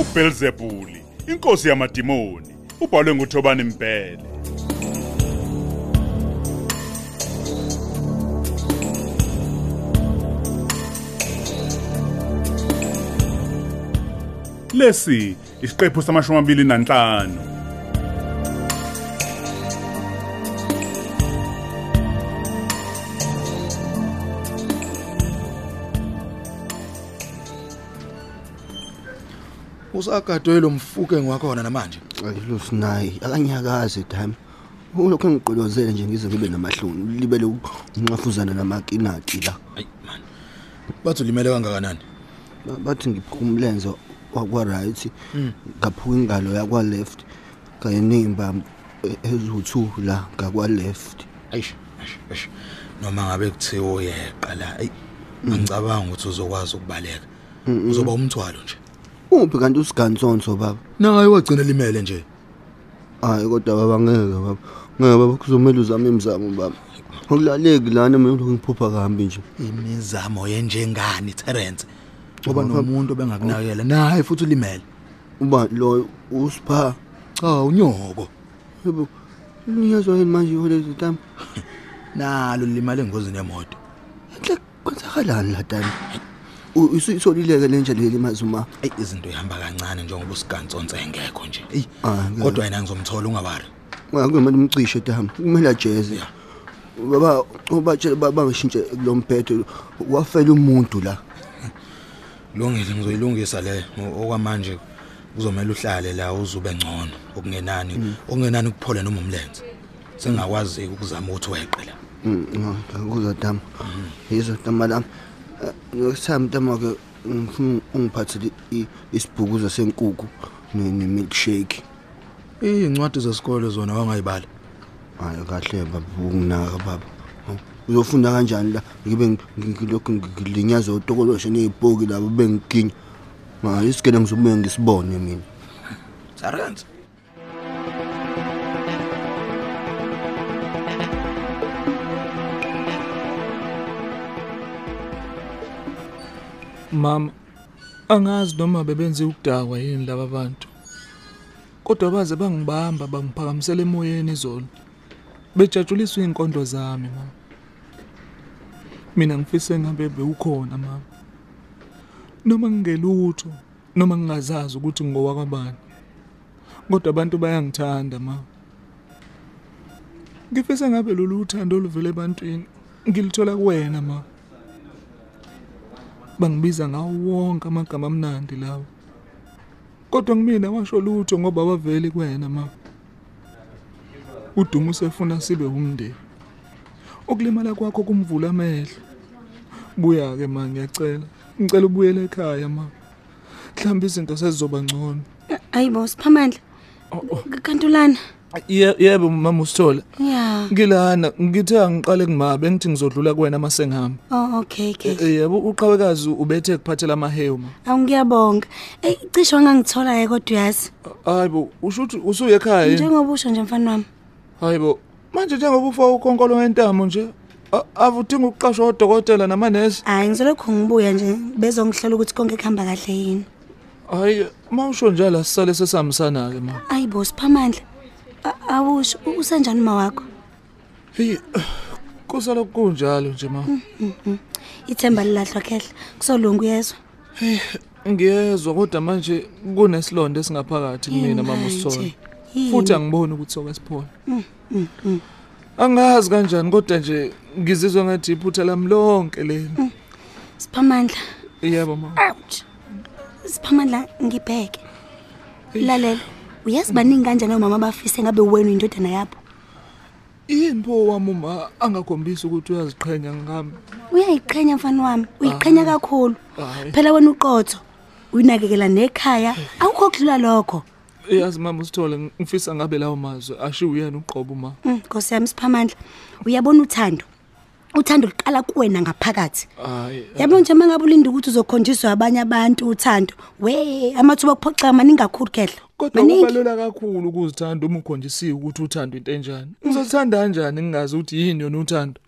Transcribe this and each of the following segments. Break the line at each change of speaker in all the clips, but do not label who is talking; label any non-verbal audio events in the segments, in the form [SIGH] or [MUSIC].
uBelzebuli, inkosi yamadimoni, ubhalwe nguThobani Mphele. Lesi isiqephu samashumi amabili nanhlanu.
usagadwe lo mfuke ngwakhona namanje
ayilusinayi akanyakaze time ulokhu engigqolozele nje ngize ngibe namahloni libele unxafuzana namakinati la
bathi ulimele kangakanani
Ba- bathi ngiphuka umlenze wakwa-right ngaphuka ingalo yakwa-left kanye ney'mbambo e- eziwu-two la ngakwa-left
ayish ayish, ayish noma ngabe kuthiwa uyeqa la ayi Mm. angicabanga ukuthi uzokwazi ukubaleka uzoba umthwalo nje
uphi kanti usigansonso baba
naye wagcina limele nje
hayi kodwa baba ngeke baba ngeke baba kuzomele uzame imizamo baba akulaleki lana mina lokhu ngiphupha kahambi nje
imizamo yenjengani Terence ngoba Oh.
Ngoba-
nomuntu bengakunakela naye futhi ulimele
uba loyo usipha
cha unyoko
yebo ninyazwa yini manje iholezi time
nalo limale ngozini yemoto
Enhle kwenzakalani la time U- isu- isolileke lenja leli mazuma
ayi izinto ihamba kancane njengoba usigantsonse engekho nje eyi
Ah, ngeke.
kodwa yena ngizomthola ungabari
akumele umcishe tama kumele ajeze baba ubatshele bangishintshe kulo mbhedo wafela umuntu la
Lungile ngizoyilungisa le o- okwamanje kuzomela uhlale la uzube ngcono okungenani
Mm.
okungenani kuphole noma umlenze sengakwazi ukuzama ukuthi weqe la
Mm, ngakuzwa tama yizo tama lami ngesami tama-ke ngifuna ungiphathele i- isibhukuzo senkukhu ne- ne-milkshake
Izincwadi zesikole zona wangayibala
hayi kahle baba ukunaka baba Hawu, uzofunda kanjani la ngibe ngi- ngi- ngilokhu ngilinyazwa utokoloshe ney'poki labo bengiginya hayi isigele ngizobuye ngisibone mina
Sarance
Mama, angazi noma bebenze ukudakwa yini laba bantu. Kodwa baze bangibamba bangiphakamisela emoyeni izolo. Bejatshuliswa inkondlo zami mama. Mina ngifise ngabe bewukhona mama. Noma ngingelutho, noma ngingazazi ukuthi ngowa kwabani. Kodwa abantu bayangithanda mama. Ngifise ngabe lolu uthando oluvela ebantwini ngilithola kuwena mama. bangibiza ngawo wonke amagama amnandi lawo kodwa kumina washo lutho ngoba waveli kwena ma udumo usefuna sibe umndeni ukulimala kwakho kumvula amehlo buya-ke ma ngiyacela ngicela ubuyele ekhaya ma mhlawumbe izinto sezizoba ngcono
hayi bo siphamandla kantulana
yebo mama usithola
ya
ngilana ngithe angiqale kumabe engithi ngizodlula kuwena ma sengihamba Eh,
oh, okay okay
yebo uqhawekazi ubethe kuphathela amahewu ma
awu ngiyabonga eyi cishe wangangithola-ke kodwa uyazi
hayi bo usho ukuthi usuye ekhaya yini?
njengoba usho nje mfana wami
hayibo manje njengoba ufaka ukonkolo wentamo nje a- ave udinga ukuqashwa odokotela namanesi
hhayi ngizolokhu ngibuya nje bezongihlola ukuthi konke kuhamba kahle yini
hhayi uma usho njalo asisale sesihambisana-ke ma
ayi bo siphamandla A- awusho u- usenjani uma wakho
heyi kusalokhu kunjalo nje ma
ithemba lilahlwa khehla kusolunga uyezwa
ngiyezwa kodwa manje kunesilonda esingaphakathi kumina mama usithole
Yini?
futhi angiboni ukuthi sokwesiphola angazi kanjani kodwa nje ngizizwa ngathi iphutha lami lonke leli
siphamandla
yebo ma
ouch siphamandla ngibheke lalela uyazi baningi kanjani omama abafise ngabe wena uyindodana yabo
yini pho wami uma angakhombisi ukuthi uyaziqhenya ngami
uyayiqhenya mfana wami uyiqhenya kakhulu
Hhayi.
phela wena uqotho uyinakekela nekhaya awukho okudlula lokho
yazi mama usithole ng- ngifisa ngabe lawo mazwi ashiwo uyena uqobo ma
Mm, nkosi yami siphamandla uyabona uthando uthando luqala kuwena ngaphakathi
hayi
yabo nje uma ngabe ulinda ukuthi uzokhonjiswa abanye abantu uthando we amathuba okuphoxeka maningi kakhulu kehla
kodwa
maningi
kubalula kakhulu ukuzithanda uma ukhonjisiwe ukuthi uthanda into enjani ngizozithanda kanjani ngingazi ukuthi yini yona uthando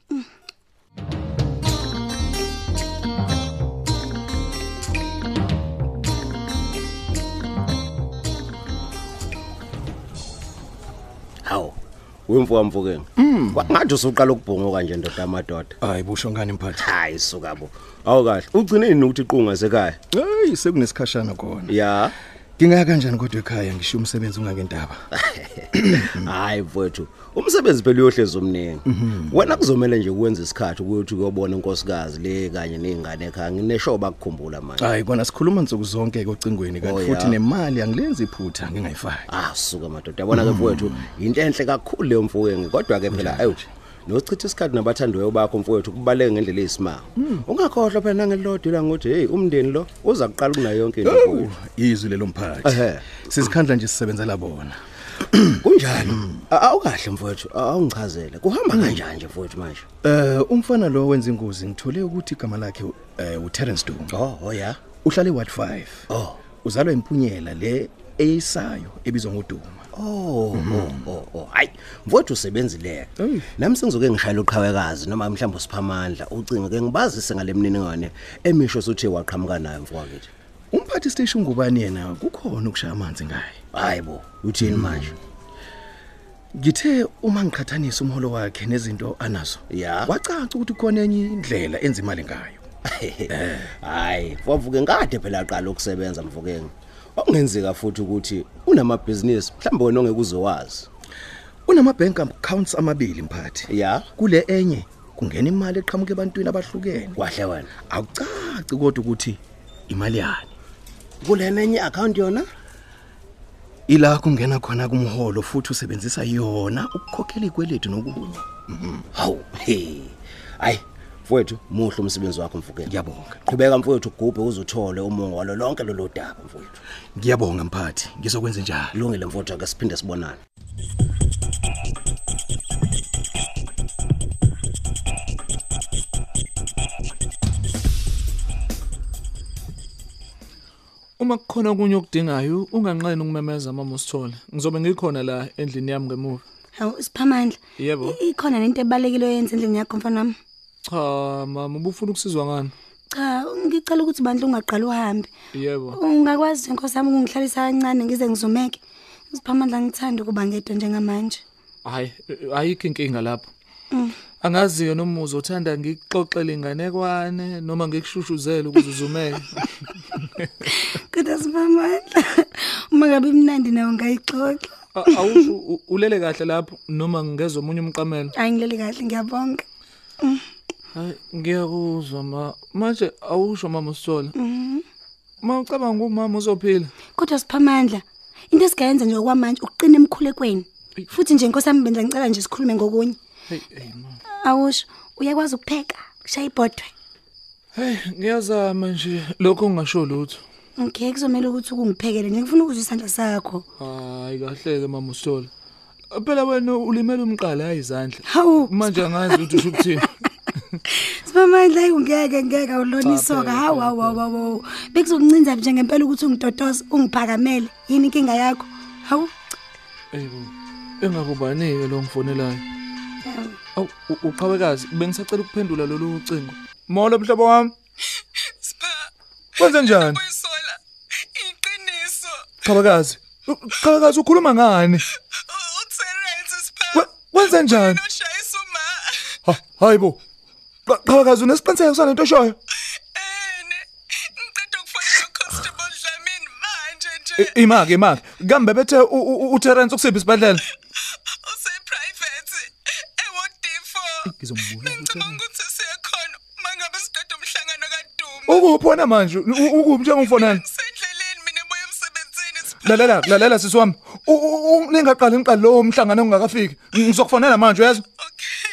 wemfukamfukene ngathi usuqala ukubhunguka nje ndoda amadoda
hayi busho ngani mphathi
hayi suka bo awu kahle ugcine ini ukuthi iqunga sekhaya
hayi sekunesikhashana khona
ya
ngingaya kanjani kodwa ekhaya ngishiya umsebenzi ungakendaba
hayi mfowethu umsebenzi phela uyohleza umningi wena kuzomela nje ukwenza isikhathi ukuthi uyobona inkosikazi le kanye ney'ngane ekhaya ngineshoba kukhumbula manje
hayi kona sikhuluma nsuku zonke ocingweni
Oh,
kanti
ya.
futhi nemali angilenzi iphutha ngingayifaki
ah suka madoda yabona ke mfowethu into enhle kakhulu leyo mfowenu kodwa ke phela ayu nosichitha isikhathi nabathandiweyo bakho mfowethu kubaleke ngendlela eyisimanga ungakhohlwa phela nangelilodwa ila ngokuthi heyi umndeni lo uza kuqala kunayo yonke into mfowethu.
izwi lelo mphathi
Ehhe.
sizikhandla nje sisebenzela bona
kunjani A- awukahle mfowethu a- awungichazele kuhamba kanjani nje mfowethu manje
eh umfana lo wenza ingozi ngithole ukuthi igama lakhe eh, uTerence Duma
oh oh ya
uhlala eWard 5
Oh.
uzalwa impunyela le eyisayo ebizwa ngoDuma
Oh, oh, oh, oh. Hayi, mfowethu usebenzile.
Eyi.
Nami sengizoke ngishaya uqhawekazi noma mhlawumbe usiphamandla ucinge ke ngibazise ngalemniningwane emisho sothi waqhamuka nayo mfowethu.
umphathi station ngubani yena kukhona ukushaya amanzi ngaye
Hayi bo, uthini manje?
ngithe uma ngiqhathanisa umholo wakhe nezinto anazo
Ya.
wacaca
[LAUGHS]
ukuthi kukhona enye indlela enza imali ngayo
Eh. Hayi, mfowethu ngade phela aqala ukusebenza mfowethu. Okungenzeka futhi ukuthi unamabhizinisi mhlawumbe wena ongeke uzowazi.
unama bank accounts amabili mphathi
Ya,
kule enye kungena imali eqhamuka ebantwini abahlukene
wahle wena.
awucaci kodwa ukuthi imali yani
Kulena enye account yona?
ila kungena khona kumholo futhi usebenzisa yona ukukhokhela ikweletu nokunye
Hawu. Hey. Hayi, mfowethu, muhle umsebenzi wakho mfowethu.
ngiyabonga
qhubeka mfowethu ugubhe uzuthole umongo walo lonke lolo daba mfowethu
ngiyabonga mphathi ngizokwenza njalo
ilungile mfowethu ake siphinde sibonane
uma kukhona okunye okudingayo unganqeni ukumemeza mama usithole ngizobe ngikhona la endlini yami ngemuva
hawu siphamandla
Yebo.
i- ikhona nento ebalulekile oyenza endlini yakho mfana wami
cha mama ubufuna ukusizwa ngani
cha ngicela ukuthi bandla ungaqali uhambe
yebo
ungakwazi nje nkosi yami ukungihlalisa kancane ngize ngizumeke siphamandla ngithanda ukuba ngedwa njengamanje
hayi eh, ayikho inkinga lapho angaziyo noma uzothanda ngikuxoxele inganekwane noma ngikushushuzele ukuze uzumeke
kodwa siphamandla [LAUGHS] uma ngabe imnandi nawe ngayixoxa
A- awusho u- ulele kahle lapho noma ngingezwa omunye umqamelo
hayi ngileli kahle ngiyabonga
hayi ngiyakuzwa ma manje awusho mama usithola ma ucabanga umama uzophila
kodwa siphamandla into esigayenza nje okwamanje ukuqina emkhulekweni futhi nje nkosi yami bendla ngicela nje sikhulume ngokunye
Hey, hey, ma.
awusho uyakwazi ukupheka ushaya ibhodwe
hey ngiyazama nje lokho ungasho lutho
okay kuzomele ukuthi ukungiphekele nje ngifuna ukuzwa isandla sakho
hayi kahle-ke mama usithola phela wena ulimela umqala hayi izandla
hawu
manje angazi ukuthi usho ukuthini
sibamandla ayi ngeke ngeke awulona isoka hawu hawu hawu hawu, hawu bekuzokuncinza nje ngempela ukuthi ungidodoze ungiphakamele yini inkinga yakho hawu
Ey bo. Engakubanike lo ngifonelayo. Aw u- uqhawekazi bengisacela ukuphendula lolu ucingo. Molo mhlobo wami. Sipha. Kwenze njani?
uyisola iqiniso
Qhawekazi. U- Qhawekazi ukhuluma ngani?
utherence
We- Wenze njani?
siphanoshayisa uma
Ha- Hayibo. Qa- Qhawekazi unesiqiniseko sanento eshoyo?
ene ngiqeda ukufonela uconstable
Ah.
dlamini manje nje
I- Imake imake. Kambe bethe u- u- u Terence ukusiphi isibadlela?
Eh.
useprivate ewodifo ngicabanga ukuthi siyekhona uma ngabe siqeda umhlangano kadumo
Ukuphi wena manje? U- Ukuphi
Oh.
njengofonana?
sendleleni mina ebuya emsebenzini
Lalela lalela sisi wami. U- u- u- Ningaqali ngiqali lo mhlangano ongakafiki. Ngizokufonela manje uyezwa?
okay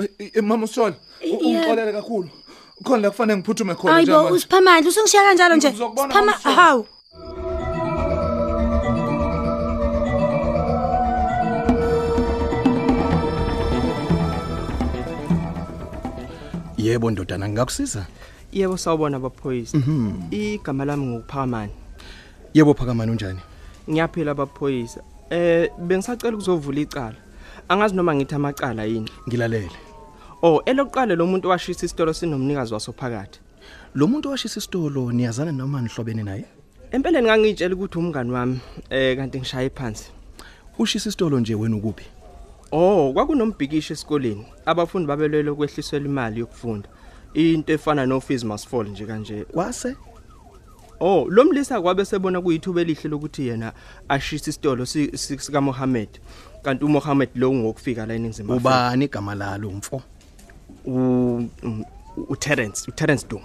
Eh, eh, mama usithola u-
Yeah.
ungixolele kakhulu khona la kufanele ngiphuthume khona
hayibo
njengamanje.
usiphamandla usungishiya kanjalo nje
Ngizokubona
siphama
ngomsoco.
hawu
yebo ndodana ngingakusiza
yebo sawubona baphoyisa igama lami ngokuphakamani
yebo phakamani unjani
ngiyaphila baphoyisa eh bengisacela ukuzovula icala angazi noma ngithi amacala yini
ngilalele
oh eloqala lo muntu washisa isitolo sinomnikazi waso phakathi
lo muntu washisa isitolo niyazana noma nihlobene naye
empeleni ngangitshela ukuthi umngani wami eh kanti ngishaye phansi
ushisa isitolo nje wena ukuphi
Oh, kwakunombhikisho esikoleni. Abafundi babelwela ukwehliselwa imali yokufunda. Into efana no fees must fall nje kanje.
Kwase
Oh, lo mlisa kwabe sebona kuyithuba elihle lokuthi yena ashisa isitolo si- si- sika Mohammed. Kanti uMohammed lo ngokufika la eNingizimu Afrika.
ubani igama lalo mfo?
U mm, u Terence, u Terence Duma.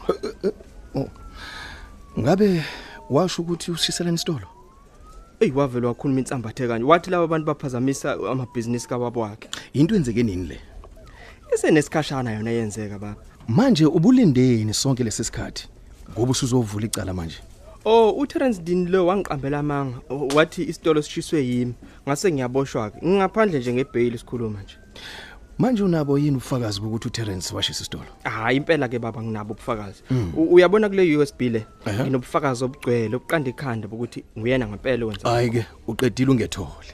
Ngabe washo ukuthi ushiselana isitolo?
Ey wavele wakhuluma insambathe kanje. Wathi laba bantu baphazamisa amabhizinisi kababa wakhe.
Into enzeke nini le?
Isenesikhashana yona yenzeka baba.
Manje ubulindeni sonke lesisikhathi. Ngoba usuzovula icala manje.
Oh uTerence Dean lo wangiqambela amanga o- wathi isitolo sishiswe yimi ngase ngiyaboshwa ke ngingaphandle nje ngebail isikhuluma nje
Manje unabo yini ufakazi bokuthi uTerence washisa isitolo?
hayi Ah, impela ke baba nginabo ubufakazi U- uyabona kule USB le
Ehhe.
inobufakazi obugcwele obuqanda ikhanda bokuthi nguyena ngempela wenza
Hayi ke uqedile ungethole.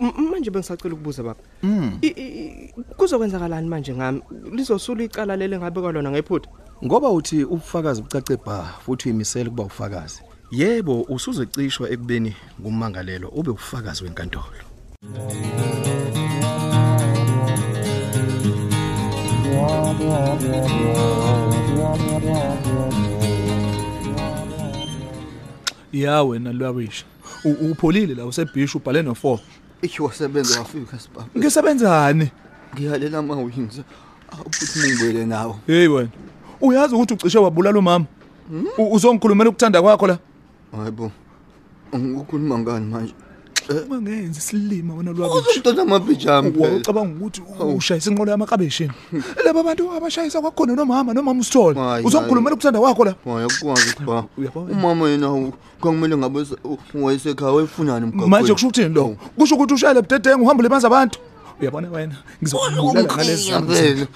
M- manje bengisacela ukubuza baba I- i- i- kuzokwenzakalani manje ngami lizosula icala lele ngabe kwalona ngephutha
Ngoba uthi ubufakazi bucace bha futhi uyimisela kuba ufakazi. Yebo usuzecishwa ekubeni ngumangalelo ube ufakazi wenkantolo.
ya wena lwarisha U- upholile la usebhisho ubhale no4
Ithi wasebenza wafika sibaba.
ngisebenzani
Ngiyalela amawings. Awufuthi ngibele nawo.
hey wena uyazi ukuthi ucishe wabulala umama U- uzongikhulumela ukuthanda kwakho la
Hayibo. Ngikhuluma ngani manje?
mangenzi silima wena lwarisha
Uzodona amapijama phela.
wacabanga ukuthi ushayisa inqolo yamakabeshini laba bantu abashayisa kwakhona nomama nomama usithole
Hayi,
uzongikhulumela ukuthanda kwakho la
Wayakwazi ba.
Uyabona?
Umama yena u- kwakumele ngabe se- u- wayesekhaya wayefunani umgaqo.
manje kusho ukuthini lo kusho ukuthi ushayele budedengu uhambe limazi abantu uyabona wena ngizokubulala ngalezi zandla.
vele.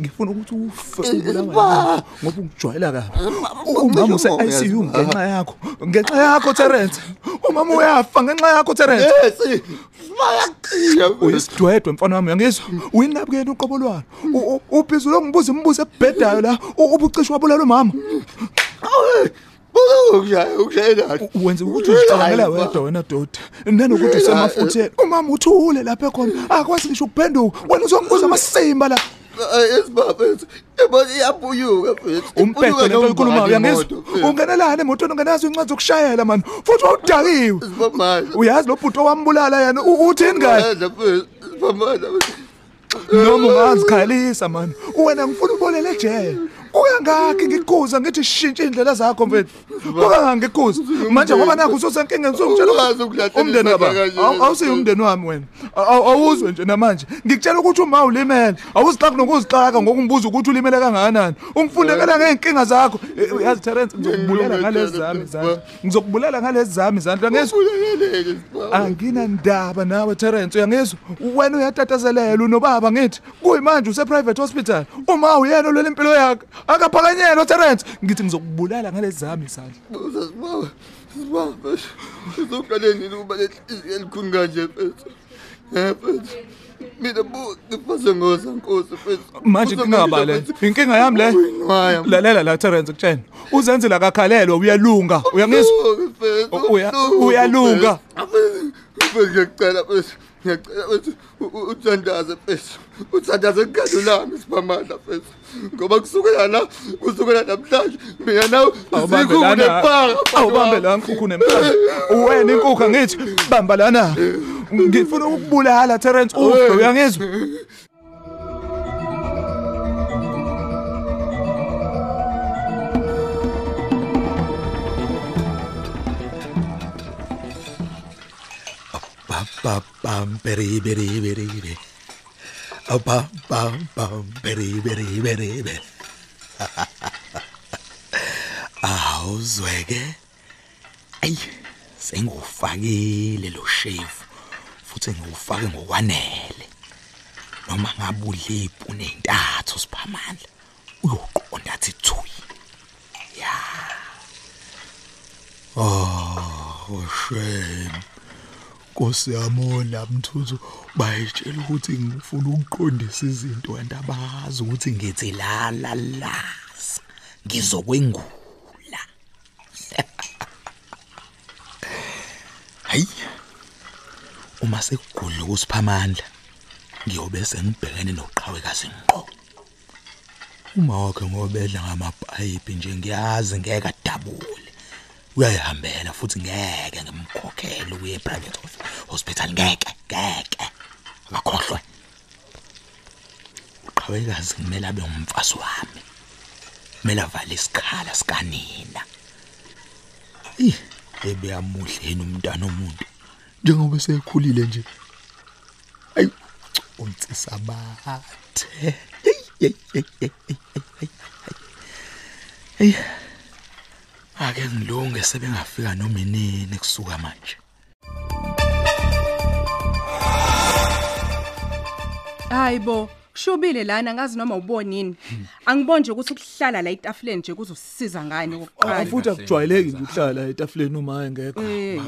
ngifuna ukuthi ufe
Eh,
ubulawa
ba- Eh,
ngoba ungijwayela kabi
ba-
umama
ba-
use-icu
ba-
ngenxa yakho ngenxa yakho terence umama uyafa ngenxa yakho terence
Yes. Bayaqila.
uyisidwedwe mfana wami uyangizwa uyinabukeni uqobo lwalo U- u- ubhizi longibuza imibuzo ebhedayo la u- ubucishwa wabulala umama
Ukushaya ukushaya.
wenze ukuthi uzicabangela wedwa wena doda nanokuthi usemafutheni umama uthule lapha ekhona akwazi ngisho ukuphenduka wena uzongibuza amasimba la
Esibaba. Yebo iyabuyuka phela.
umphethe lento oyikhulumayo uyangizwa
Unga
ungenelani emotweni ungenazo incwadi zokushayela mani futhi wawudakiwe
Eh. sibamana.
uyazi lo bhuti owambulala yena u- uthini kahle
Yadla phela. Sibamana.
noma ungazikhalisa mani wena ngifuna ubolele ejele kuyangakhi ngikuza ngithi shintsha iy'ndlela zakho mfethu kukangaki ngikuza manje ngoba nakho ususenkingeni
Ukwazi
sokutshela
ukulahla
umndeni
isandla
kaba
kanje.
awusiye umndeni wami wena Aw- aw- awuzwe nje namanje ngikutshela ukuthi uma ulimele awuzixaki nokuzixaka ngokungibuza ukuthi ulimele kangakanani ungifundekela ngey'nkinga zakho Eh, uyazi terence ngizokubulela ngalezi zami izandla ngizokubulela ngalezi zami izandla ngezwa
Kulelele sibaba.
anginandaba nawe terence uyangizwa wena uyatatazelelwa unobaba ngithi kuyimanje useprivate hospital uma uyena olwela impilo yakhe akaphakanyelwa terence ngithi ngizokubulala ngalezi zami izandla
Buza sibaba. Sibaba. Uzoqale nini ukuba lenhliziyo elikhulu kanje mfethu? Eh mfethu. Mina bu ngifase ngoza nkosi mfethu.
manje inkinga ngaba le inkinga yami le lalela la terence kutshena uzenzela kakhalelwa uyalunga uyangizwa U- uya- uyalunga.
Mfethu ngiyacela mfethu. Ngiyacela mfethu u- u- uthandaze mfethu. Uthandaze ngalo lami sibamandla mfethu. Ngoba kusukela la kusukela namhlanje mina nawe
awubambe
sikhule
lana
phaka.
awubambe la nkukhu nemhlaba wena inkukhu angithi bamba lana ngifuna ukubulala terence ufe uyangizwa
Ba ba bam beri beri beri beri. A ba ba bam beri beri beri beri. [LAUGHS] Awuzweke? Ey, sengufakile lo shevu. Futhi ngiwufake ngokwanele. Noma ngabudle ipune intathu siphamandla. Uyoqonda athi thuyi. Ya. Oh, shame. Nkosi yamona mthuthu bayitshela ukuthi ngifuna ukuqondisa izinto and abazi ukuthi ngithi la la la ngizokwengula. [LAUGHS] Hayi. Uma sekugudla kusiphamandla ngiyobe sengibhekene noqhawekazi ngqo uma wakhe ngobedla ngamapayipi nje ngiyazi ngeke adabule uyayihambela futhi ngeke ngimkhokhele ukuye private hospital ngeke ngeke akakhohlwe uqhawekazi kumele abe umfazi wami kumele avale isikhala sikanina ih ebe yamuhle yini umntwana omuntu njengoba sekhulile nje ayi unsisabathe hey ake ngilunge sebengafika noma inini kusuka manje
hayi bo kushubile lana ngazi noma ubonini angiboni nje ukuthi ukuhlala la itafuleni nje kuzosisiza ngani
Ah,
kokuqala
futhi akujwayeleki nje ukuhlala etafuleni uma engekho
Eh.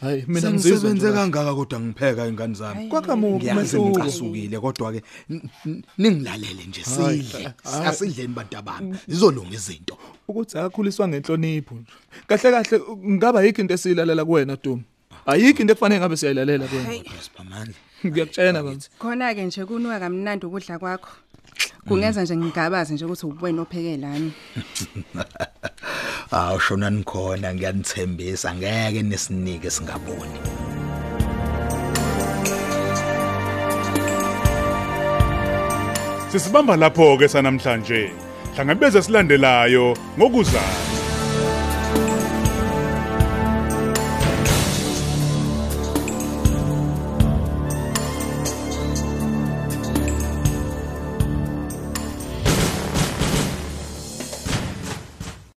hayi mina ngizizwa
sengisebenze
nje-
kangaka kodwa ngipheka ingane zami
Kwakamuva
ngiyazi
umehluko.
ngicasukile kodwa ke ningilalele nje
Hayi,
sidle
hayi.
asidleni bantu abantu izolunga izinto
ukuthi akhuliswa ngenhlonipho nje. kahle kahle ngaba yikho into esiyilalela kuwena Dumi ayikho into ekufanele ngabe siyayilalela kuwena
amandla
ngiyakutshena bathi
khona-ke nje kunuka kamnandi ukudla kwakho kungenza nje ngigabaze nje ukuthi ubuwena opheke lani
awu shona nikhona ngiyanithembisa ngeke nesinike singaboni
Sisibamba lapho ke sanamhlanje. Hlangabeze silandelayo ngokuzayo.